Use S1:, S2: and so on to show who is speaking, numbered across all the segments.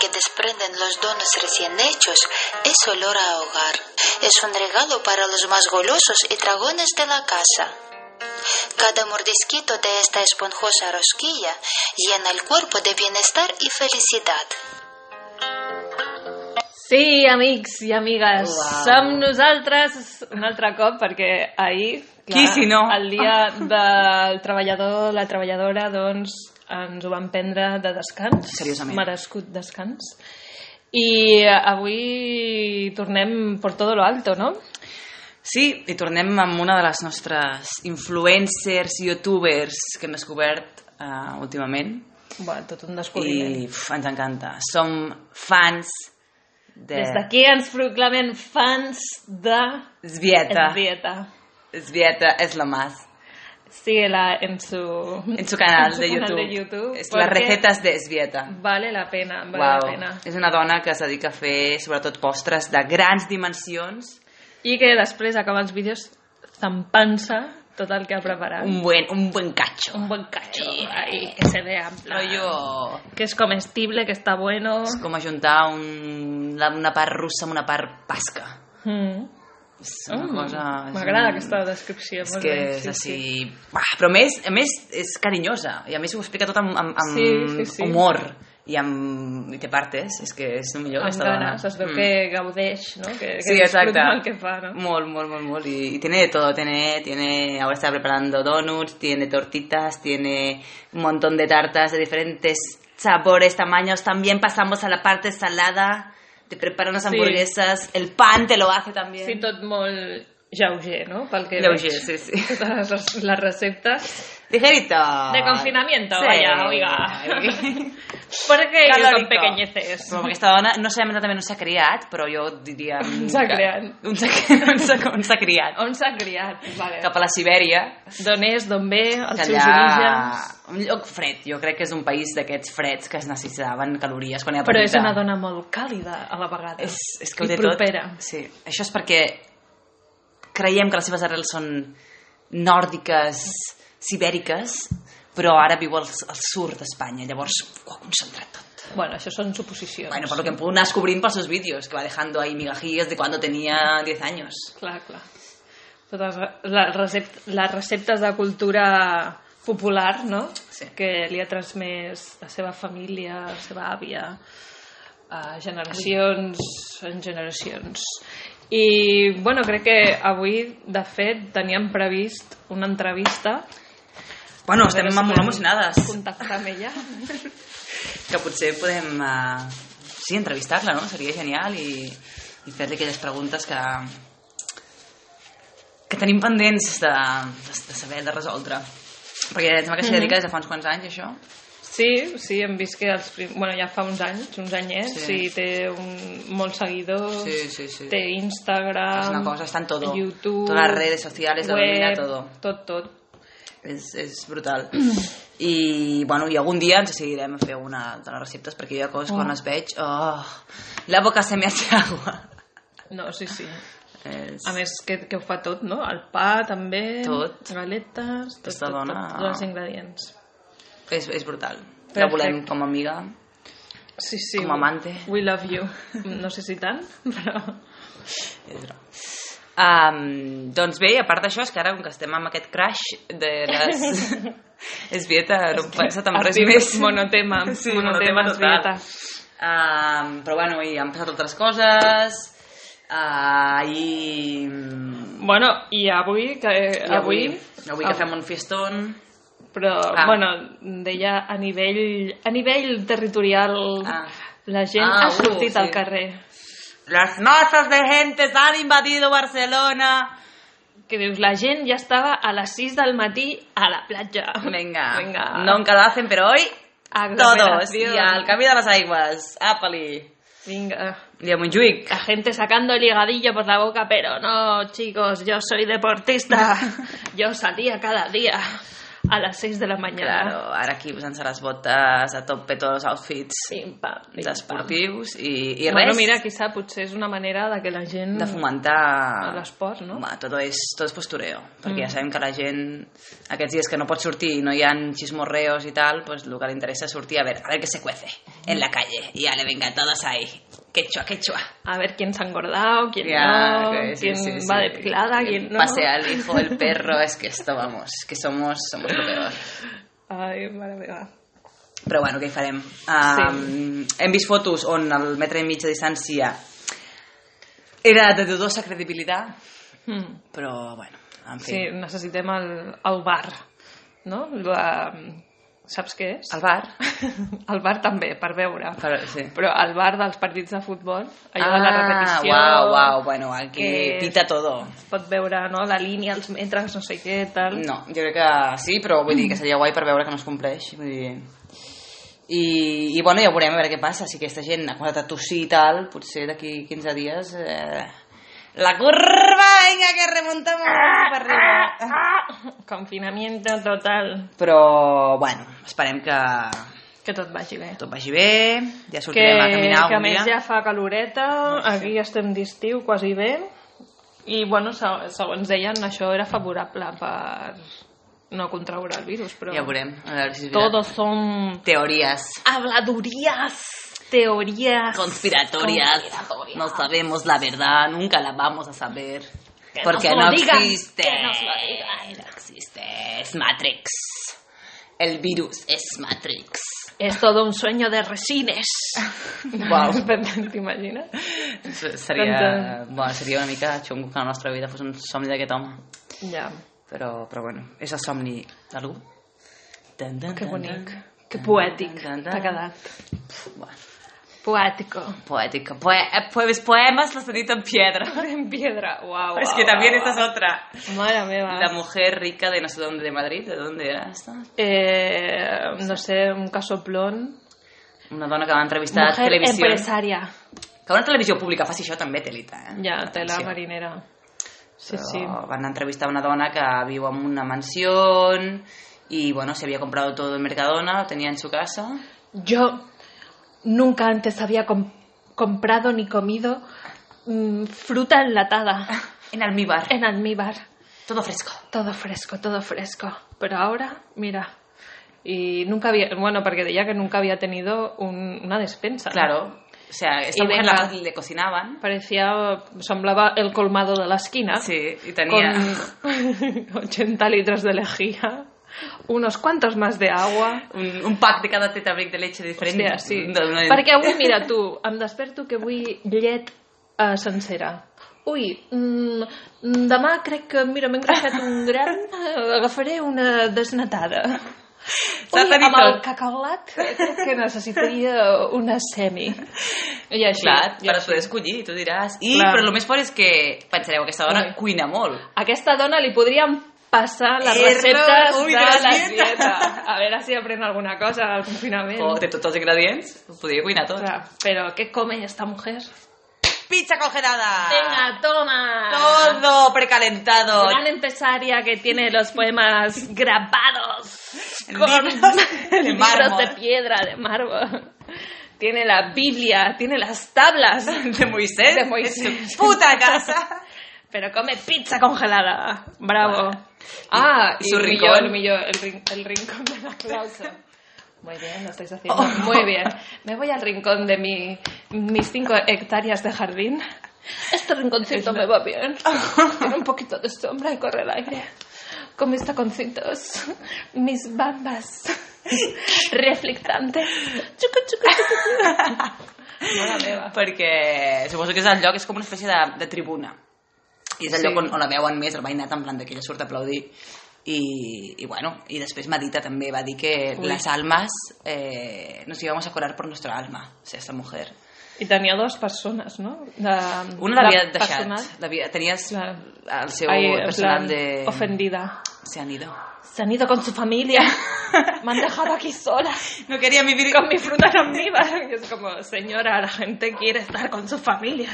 S1: que desprenden los donos recién hechos es olor a hogar. Es un regalo para los más golosos y dragones de la casa. Cada mordisquito de esta esponjosa rosquilla llena el cuerpo de bienestar y felicidad.
S2: Sí, amics i amigues,
S3: Uau.
S2: som nosaltres un altre cop, perquè ahir,
S4: Qui si no?
S2: el dia del treballador, la treballadora, doncs, ens ho van prendre de descans.
S4: Seriosament.
S2: Merescut descans. I avui tornem por todo lo alto, no?
S4: Sí, i tornem amb una de les nostres influencers, youtubers que hem descobert eh, últimament
S2: Bé, tot un descobriment.
S4: i uf, ens encanta. Som fans de
S2: Des d'aquí ens proclamem fans de
S4: Zvieta.
S2: Dieta.
S4: Zvieta és la más.
S2: Síguela en su...
S4: En su canal,
S2: en su
S4: de,
S2: canal
S4: YouTube.
S2: de YouTube,
S4: És
S2: perquè
S4: les recetes de Zvieta.
S2: Vale la pena, vale la pena.
S4: És una dona que es dedica a fer sobretot postres de grans dimensions
S2: I que després acaba els vídeos zampant-se tot el que ha preparat.
S4: un buen, un buen cacho.
S2: un buen cacho. Ahí, que se vea en plan,
S4: Rollo...
S2: Que es comestible, que està bueno.
S4: És com ajuntar un, la- una part russa amb una part pasca.
S2: Mm.
S4: És Pues, una
S2: Mm,
S4: cosa... és
S2: M'agrada
S4: un-
S2: aquesta descripció.
S4: És
S2: molt
S4: que
S2: bé,
S4: és així... Bah, Però a més, a més, és carinyosa. I a més ho explica tot amb, amb, amb
S2: Sí, sí, sí.
S4: humor. I amb... I te partes. És que és el millor,
S2: Amb
S4: aquesta dona.
S2: ganes, es veu
S4: Mm.
S2: que gaudeix, no? Que, que
S4: Sí, exacte.
S2: disfruta el que fa, no?
S4: Molt, molt, molt, molt. Y, y tiene de todo. Tiene, tiene, ahora está preparando donuts, tiene tortitas, tiene un montón de tartas de diferentes sabores, tamaños. También pasamos a la parte salada. Te preparan las
S2: Sí.
S4: hamburguesas. El pan te lo hace también.
S2: Sí, tot molt lleuger, no? Pel que
S4: Lleuger,
S2: veig.
S4: sí, sí.
S2: Totes les, les receptes.
S4: Ligerito.
S2: De confinamiento,
S4: Sí.
S2: vaya, oiga.
S4: Ai.
S2: Perquè jo com
S4: Calòrico.
S2: pequeñeces.
S4: Però amb aquesta dona, no sé, també no s'ha criat, però jo diria...
S2: On s'ha criat?
S4: On s'ha on s'ha- on s'ha criat.
S2: On s'ha criat? Vale.
S4: Cap a la Sibèria.
S2: D'on és, d'on ve, els
S4: que
S2: seus orígens...
S4: Un lloc fred, jo crec que és un país d'aquests freds que es necessitaven calories quan era
S2: Però és
S4: petita.
S2: una dona molt càlida a la vegada.
S4: És, és que ho
S2: I
S4: té
S2: propera.
S4: tot. Sí. Això és perquè creiem que les seves arrels són nòrdiques, sibèriques, però ara viu al, al sud d'Espanya, llavors ho ha concentrat tot.
S2: Bueno, això són suposicions.
S4: Bueno, per lo que hem pogut anar descobrint pels seus vídeos, que va dejando ahí migajillas de cuando tenía 10 años.
S2: Clar, clar. Tota Totes les, recept, les receptes de cultura popular, no?
S4: Sí.
S2: Que li ha transmès la seva família, la seva àvia, a generacions en generacions. I, bueno, crec que avui, de fet, teníem previst una entrevista.
S4: Bueno,
S2: A veure
S4: estem
S2: si
S4: molt
S2: podem
S4: emocionades,
S2: Contactar amb ella.
S4: que potser podem... eh, sí, entrevistar-la, no? Seria genial i, i fer-li aquelles preguntes que que tenim pendents de, de, de saber, de resoldre. Perquè em sembla que s'hi dedica des de fa uns quants anys, això.
S2: Sí, sí, hem vist que els prim... bueno, ja fa uns anys, uns anyets, sí.
S4: Sí.
S2: i té un... molts seguidors,
S4: Sí, sí, sí.
S2: té Instagram,
S4: És una cosa, està en todo.
S2: YouTube,
S4: Todas las redes sociales, la domina todo.
S2: Tot, tot.
S4: És, és brutal. Mhm. I, bueno, i algun dia ens seguirem a fer una de les receptes, perquè jo a coses, quan les veig... Oh, la boca se me hace agua.
S2: No, sí, sí.
S4: És...
S2: A més, que, que ho fa tot, no? El pa, també,
S4: Tot.
S2: galetes, tot,
S4: Aquesta
S2: tot, tot,
S4: dona-
S2: tots els ingredients.
S4: És, és brutal.
S2: Perfecte.
S4: La volem com a amiga.
S2: Sí, sí.
S4: Com amante.
S2: We love you. No sé si tant, però...
S4: És broma. Um, doncs bé, i a part d'això, és que ara, com que estem amb aquest crash de les... és Vieta, no he pensat en
S2: has
S4: res
S2: dit
S4: més.
S2: monotema, monotema
S4: total.
S2: Esvieta.
S4: Um, però bueno, i han passat altres coses, uh, i...
S2: Bueno, i avui... Que,
S4: i
S2: avui, Ah.
S4: Avui que fem un fiestón...
S2: Però,
S4: Ah.
S2: bueno, deia a nivell, a nivell territorial
S4: Ah.
S2: la gent
S4: Ah,
S2: ha
S4: uh,
S2: sortit
S4: sí.
S2: al carrer.
S4: Las masas de gentes han invadido Barcelona.
S2: Que dius, la gent ja estava a les 6 del matí a la platja.
S4: Venga,
S2: Venga.
S4: nunca lo hacen, pero hoy todos. Y
S2: Aglomeración.
S4: al camí de las aigües, apali.
S2: Venga.
S4: I a Montjuïc.
S2: La gente sacando el higadillo por la boca,
S4: Ah.
S2: pero no, chicos, yo soy deportista. Yo salía cada día a las 6 de la mañana.
S4: Claro, ara aquí posant-se les botes, a tope tots els outfits
S2: Pim, pam, pim, pam.
S4: esportius i, i res
S2: Bueno, mira, quizá potser és una manera de que la gent...
S4: de fomentar...
S2: l'esport, no? Mm.
S4: Home, tot és, tot és postureo, perquè ja sabem que la gent, aquests dies que no pot sortir i no hi ha chismorreos i tal, pues lo que li interessa és sortir a veure, a veure què se cuece en la calle. Y ya le venga todos ahí. Quechua, quechua.
S2: A ver quién se ha engordado, quién no,
S4: que sí,
S2: quién
S4: sí, sí.
S2: va de pelada, quién no.
S4: Pasea al hijo, el perro, es que esto, vamos, que somos, somos lo peor.
S2: Ai, mare meva.
S4: Però bueno, què hi farem? Um, Hem vist fotos on el metre i mig de distància era de dudosa credibilitat,
S2: Mm.
S4: però bueno, en fi.
S2: Sí, necessitem el, el bar, no? La, saps què és?
S4: Al bar.
S2: el bar també, per veure.
S4: Però, sí.
S2: Però al bar dels partits de futbol, allò de
S4: Ah,
S2: la repetició...
S4: Wow, wow, bueno, aquí
S2: que-
S4: pita todo.
S2: Es pot veure no? la línia, els metres, no sé què, tal...
S4: No, jo crec que sí, però vull dir que seria guai per veure que no es compleix. Vull dir... I, I bueno, ja veurem a veure què passa. Si aquesta gent ha començat a tossir i tal, potser d'aquí 15 dies... Eh... La curva, vinga, que remuntamos
S2: Ah,
S4: per arriba.
S2: Confinamiento total.
S4: Però, bueno, esperem que
S2: Que tot vagi bé.
S4: tot vagi bé, ja
S2: que,
S4: sortirem a caminar eh?
S2: que a
S4: algun
S2: més
S4: dia.
S2: ja fa caloreta, aquí ja estem d'estiu quasi bé, i bueno, se- segons deien, això era favorable per no contraure el virus, però
S4: Ja veurem, a veure si és veritat.
S2: todos son
S4: Teories
S2: habladurías, teorías.
S4: conspiratorias.
S2: Conspiratorias.
S4: No sabemos la verdad, nunca la vamos a saber.
S2: Que
S4: porque
S2: nos lo
S4: no
S2: digan,
S4: existe.
S2: que nos lo digan.
S4: No existe. Es Matrix. El virus es Matrix.
S2: Es todo un sueño de resines.
S4: Uau.
S2: T'imagines?
S4: Seria, bueno, seria una mica xungo que la nostra vida fos un somni d'aquest home.
S2: Ja,
S4: Però, però bueno, és el somni d'algú. Tan, tan,
S2: Oh, que
S4: tan,
S2: bonic,
S4: tan.
S2: que poètic,
S4: Tan, tan,
S2: t'ha
S4: tan.
S2: quedat.
S4: Bueno,
S2: Poètico.
S4: poètica. Poe eh, pues poemas los he dicho en piedra.
S2: En piedra, uau,
S4: es
S2: uau,
S4: que también
S2: uau,
S4: esta es otra.
S2: uau. Mare meva.
S4: La mujer rica de no sé dónde, de Madrid, ¿de dónde era esta?
S2: Eh, no sé, un casoplón.
S4: Una dona que va entrevistar a
S2: Mujer
S4: televisió.
S2: empresaria.
S4: Que una televisió pública faci això també, telita. Eh?
S2: Ja, tela
S4: Atenció.
S2: marinera. Sí,
S4: Però
S2: sí.
S4: Van entrevistar una dona que viu en una mansió y bueno, se había comprado todo en Mercadona, lo tenía en su casa.
S2: Yo nunca antes había com- comprado ni comido mm, fruta enlatada
S4: En almíbar.
S2: en almíbar.
S4: Todo fresco.
S2: Todo fresco, todo fresco. Pero ahora, mira. Y nunca había. Bueno, porque ya que nunca había tenido un- una despensa.
S4: Claro. O sea, esta
S2: Y
S4: mujer
S2: venga.
S4: la- le cocinaban.
S2: Parecía. Semblaba el colmado de la esquina.
S4: Sí, y tenía...
S2: con 80 litros de lejía, unos cuantos más de agua.
S4: Un, un pack de cada teta brick de leche diferente.
S2: Hòstia, sí.
S4: D'una-
S2: Perquè avui, mira, tu, em desperto que vull llet eh, sencera. Ui, mm, mm, demà crec que, mira, m'he engreixat un gran, eh, agafaré una desnatada. Ui, amb
S4: Satanito.
S2: el cacaolat crec que necessitaria una semi. I així.
S4: Clar,
S2: i
S4: per
S2: així.
S4: poder escollir, tu diràs. I,
S2: Clar.
S4: però el més fort és que pensareu, aquesta dona
S2: Ui.
S4: cuina molt.
S2: Aquesta dona li podríem passar les
S4: Error.
S2: receptes
S4: Ui,
S2: de
S4: de les
S2: la
S4: dietes.
S2: dieta. A veure si aprèn alguna cosa del confinament.
S4: O té tots els ingredients, ho podria cuinar tot.
S2: Clar, però què come esta mujer?
S4: Pizza congelada.
S2: Venga, toma.
S4: Todo precalentado.
S2: Gran empresaria que tiene los poemas grabados
S4: En
S2: con
S4: libros de
S2: libros
S4: mármol.
S2: de piedra, de mármol. Tiene la Biblia, tiene las tablas.
S4: De Moisés.
S2: De Moisés.
S4: en su Puta casa.
S2: Pero come pizza congelada. Bravo. Ah,
S4: y su
S2: el
S4: rincón.
S2: millón, el millón, el, rin- el rincón de la clausa. Muy bien, lo estáis haciendo.
S4: Oh.
S2: Muy bien. Me voy al rincón de mi, mis cinco hectáreas de jardín. Este rinconcito me va bien. Tiene un poquito de sombra y corre el aire. Con mis taconcitos, mis bambas reflectantes. Chucu, chucu, chucu. Mala meva.
S4: Perquè suposo que és el lloc, és com una espècie de, de tribuna. I és el
S2: Sí.
S4: lloc on, on la veuen més, el veïnat, en plan de que ella surt a aplaudir. I, i bueno, i després Madita també va dir que
S2: Ui.
S4: las almas eh, nos íbamos a curar por nuestra alma, o sea, esta mujer.
S2: I tenia dues persones, no? De,
S4: Una l'havia
S2: de
S4: deixat,
S2: personal.
S4: l'havia- tenies
S2: Clar.
S4: el seu
S2: Ahí, en plan,
S4: personal de...
S2: Ofendida.
S4: Se han ido.
S2: Se han ido con su familia. Me han dejado aquí sola.
S4: No quería vivir
S2: Con mi fruta en almíbar. Y es como, señora, la gente quiere estar con su familia.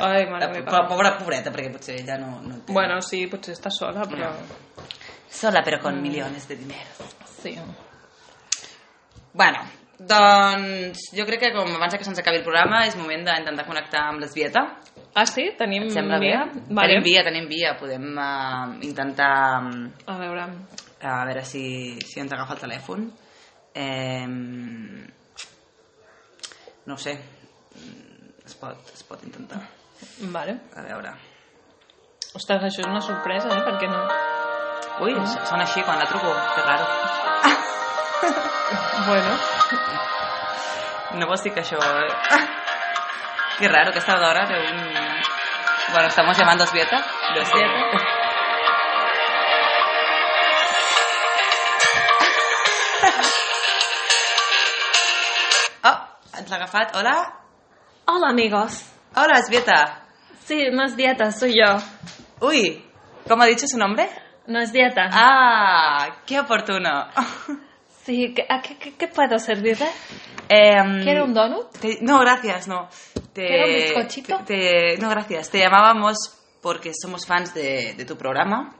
S2: Ai, mare meva.
S4: pobra, pobreta, perquè potser ella no, no té.
S2: pues Bueno, sí, potser està sola, però...
S4: No. Sola pero
S2: Mm.
S4: con millones de dinero.
S2: Sí.
S4: Bueno, doncs jo crec que com abans que se'ns acabi el programa és moment d'intentar connectar amb l'esbieta.
S2: Ah, sí? Tenim
S4: Et sembla
S2: via?
S4: bé?
S2: Mm, Vale.
S4: Tenim via, tenim via. Podem eh, intentar... mm,
S2: A veure...
S4: A veure si, si ens agafa el telèfon. Eh, no ho sé. Mm, Es pot, es pot intentar.
S2: Vale.
S4: A veure.
S2: Ostres, això és una sorpresa, eh? Per què no?
S4: Ui, so- sona així quan la truco. Que raro.
S2: Bueno,
S4: No vols dir que això... eh? Que raro, aquesta hora de un... Bueno, estamos llamando a Svieta. Lo sé. Oh, ens l'ha agafat. Hola.
S2: Hola, amigos.
S4: Hola, Svieta.
S2: Sí, no es dieta, soy yo.
S4: Uy, ¿cómo ha dicho su nombre?
S2: No es dieta.
S4: Ah, qué oportuno.
S2: Sí, ¿qué, a qué, qué- qué puedo servirle?
S4: Em,
S2: ¿Quiere un donut?
S4: Te- no, gracias, no. Te,
S2: ¿Quiero un bizcochito?
S4: te- te- no, gracias. Te llamábamos porque somos fans de, de tu programa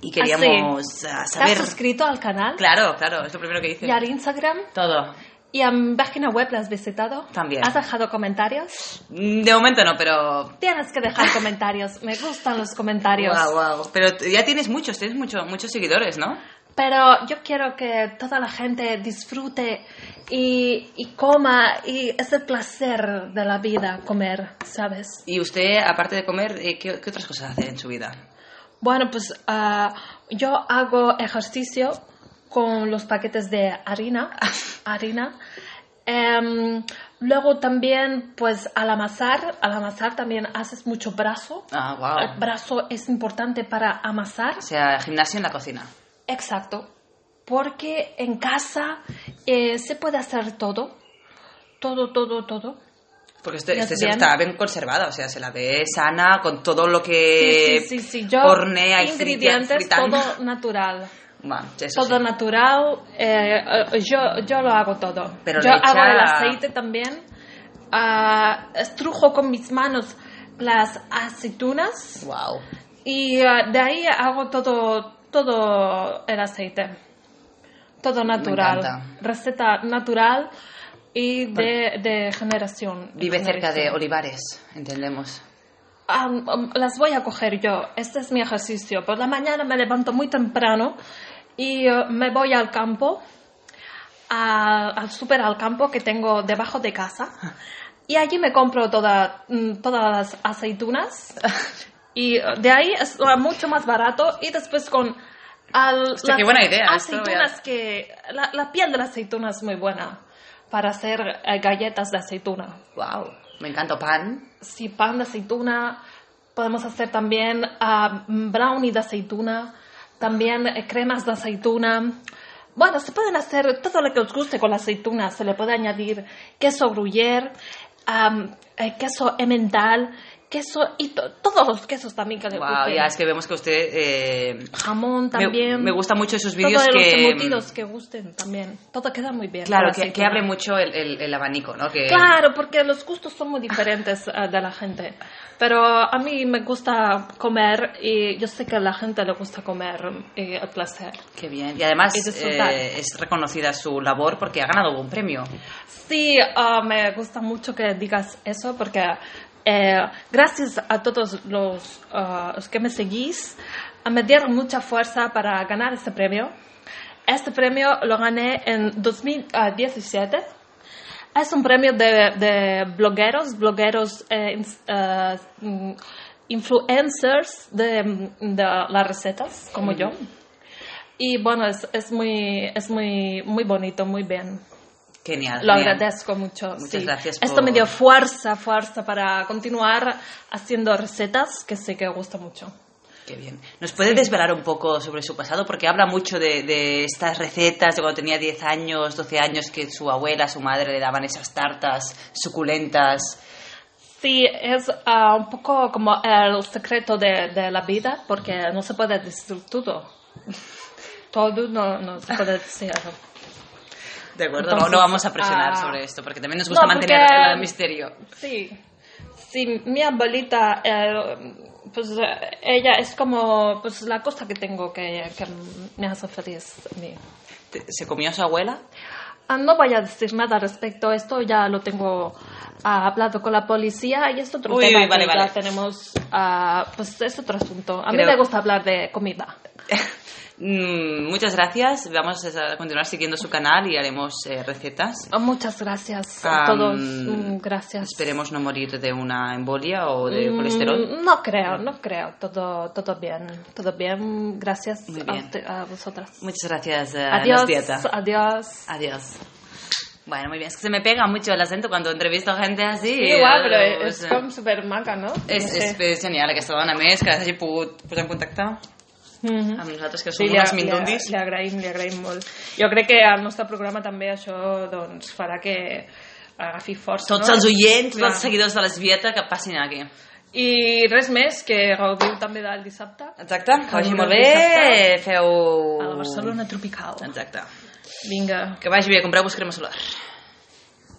S4: y queríamos ah,
S2: ¿Estás
S4: saber...
S2: suscrito al canal?
S4: Claro, claro, es lo primero que dice.
S2: ¿Y al Instagram?
S4: Todo.
S2: ¿Y a mi página web la has visitado?
S4: También.
S2: ¿Has dejado comentarios?
S4: Mm, De momento no, pero...
S2: Tienes que dejar comentarios. Me gustan los comentarios.
S4: Guau, guau. Pero t- ya tienes muchos, tienes mucho, muchos seguidores, ¿no?
S2: Pero yo quiero que toda la gente disfrute y, y coma. Y es el placer de la vida comer, ¿sabes?
S4: Y usted, aparte de comer, eh, ¿qué, qué otras cosas hace en su vida?
S2: Bueno, pues ah, yo hago ejercicio con los paquetes de harina. harina. Em, luego también, pues al amasar, al amasar también haces mucho brazo.
S4: Ah,
S2: El
S4: wow.
S2: brazo es importante para amasar.
S4: O sea, gimnasio en la cocina.
S2: Exacto. Porque en casa eh, se puede hacer todo. Todo, todo, todo.
S4: Porque este,
S2: Ya
S4: este
S2: es
S4: se
S2: bien.
S4: está bien conservada, o sea, se la ve sana, con todo lo
S2: Sí,
S4: que
S2: sí, sí, sí. Yo,
S4: Eh, hornea y
S2: ingredientes,
S4: frita- fritando.
S2: todo natural.
S4: Bueno, eso
S2: Todo
S4: sí.
S2: natural. eh, eh, yo, yo lo hago todo.
S4: Pero
S2: yo
S4: le
S2: hago
S4: echa-
S2: el aceite también. ah, estrujo con mis manos las aceitunas
S4: Wow.
S2: y ah, de ahí hago todo, todo el aceite. Todo natural.
S4: encanta.
S2: Receta natural y de, de generación.
S4: Vive
S2: en
S4: cerca de
S2: generación.
S4: olivares, entendemos.
S2: Ah, um, las voy a coger yo. Este es mi ejercicio. Por la mañana me levanto muy temprano y eh, me voy al campo, a- al súper al campo que tengo debajo de casa. Y allí me compro toda, mm, todas las aceitunas. Y eh, de ahí es eh, mucho más barato. Y después con... al-
S4: Hostia, qué buena idea, esto voy a-
S2: Aceitunas que... La, la piel de la aceituna es muy buena para hacer eh, galletas de aceituna.
S4: Wow. Me encanta pan.
S2: Sí, pan de aceituna. Podemos hacer también ah, brownie de aceituna. También eh, cremas de aceituna. Bueno, se pueden hacer todo lo que os guste con la aceituna. Se le puede añadir queso gruyere, am, eh, queso emmental, queso y to- todos los quesos también que le
S4: Wow,
S2: gusten.
S4: ya es que vemos que usted eh,
S2: Jamón
S4: me-
S2: también.
S4: Me, gusta mucho esos vídeos
S2: Todos
S4: que mm,
S2: los embutidos que gusten también. Todo queda muy bien. con
S4: Claro,
S2: la
S4: que, que
S2: aceituna.
S4: abre mucho el, el- el abanico, ¿no? Que
S2: Claro, porque los gustos son muy diferentes eh, de la gente. Pero a mí me gusta comer y yo sé que a la gente le gusta comer y el placer.
S4: Qué bien. Y además
S2: Y disfrutar.
S4: eh, es reconocida su labor porque ha ganado un premio.
S2: Sí, ah, me gusta mucho que digas eso porque eh, gracias a todos los, ah, los que me seguís ah, me dieron mucha fuerza para ganar este premio. Este premio lo gané en 2017. Es un premio de, de blogueros, blogueros eh, ins- eh, mm, influencers de, de las recetas, como yo. Y bueno, es, es, muy, es muy, muy bonito, muy bien.
S4: Genial.
S2: Lo
S4: Ah, genial.
S2: agradezco mucho.
S4: Muchas
S2: sí.
S4: gracias
S2: Esto
S4: por-
S2: me dio fuerza, fuerza para continuar haciendo recetas que sé que gusta mucho.
S4: Qué bien. ¿Nos puede desvelar un poco sobre su pasado? Porque habla mucho de, de estas recetas de cuando tenía 10 años, 12 años, que su abuela, su madre le daban esas tartas suculentas.
S2: Sí, es ah, un poco como el secreto de, de la vida, porque no se puede decir todo. Todo no, no se puede decir.
S4: De acuerdo,
S2: Entonces,
S4: no, no vamos a presionar
S2: ah,
S4: sobre esto, porque también nos gusta
S2: no, porque-
S4: mantener el misterio.
S2: Sí, sí mi abuelita eh, pues eh, ella es como pues la cosa que tengo que, que me hace feliz a mí.
S4: Te- ¿Se comió a su abuela?
S2: Ah, no voy a decir nada respecto a esto, ya lo tengo ah, hablado con la policía y es otro
S4: Uy,
S2: tema
S4: uy, vale,
S2: que ya
S4: vale.
S2: tenemos, ah, pues es otro asunto. A mí
S4: Creo-
S2: me gusta hablar de comida.
S4: Mm, muchas gracias. Vamos a continuar siguiendo su canal y haremos eh, recetas.
S2: Ah, Muchas gracias a
S4: Am,
S2: todos, mm, gracias.
S4: Ah, Esperemos no morir de una embolia o de
S2: Mm,
S4: colesterol.
S2: No creo, no creo, todo, todo bien, todo bien, gracias
S4: Muy
S2: a
S4: bien.
S2: usted- A, vosotras.
S4: Muchas gracias, eh, Nos
S2: adiós,
S4: Dieta.
S2: adiós.
S4: Adiós. Bueno, muy bien. Es que se me pega mucho el acento cuando entrevisto gente así.
S2: Sí, igual, però
S4: Eh,
S2: és
S4: eh,
S2: com supermaca, no?
S4: és,
S2: No sé.
S4: és, és genial aquesta dona, a més, que s'hagi pogut posar en contacte
S2: Mhm.
S4: amb nosaltres, que som
S2: Sí,
S4: sí,
S2: li,
S4: unes
S2: li,
S4: mindundis.
S2: li agraïm, li agraïm molt. Jo crec que el nostre programa també això doncs, farà que agafi força.
S4: Tots
S2: no?
S4: els oients, tots
S2: Clar.
S4: els seguidors de l'esbieta que passin aquí.
S2: I res més, que gaudiu també del dissabte
S4: Exacte, que vagi
S2: Adoreu
S4: molt bé,
S2: dissabte.
S4: feu...
S2: a la Barcelona Tropical.
S4: Exacte.
S2: Vinga.
S4: Que vagi bé, compreu-vos crema solar.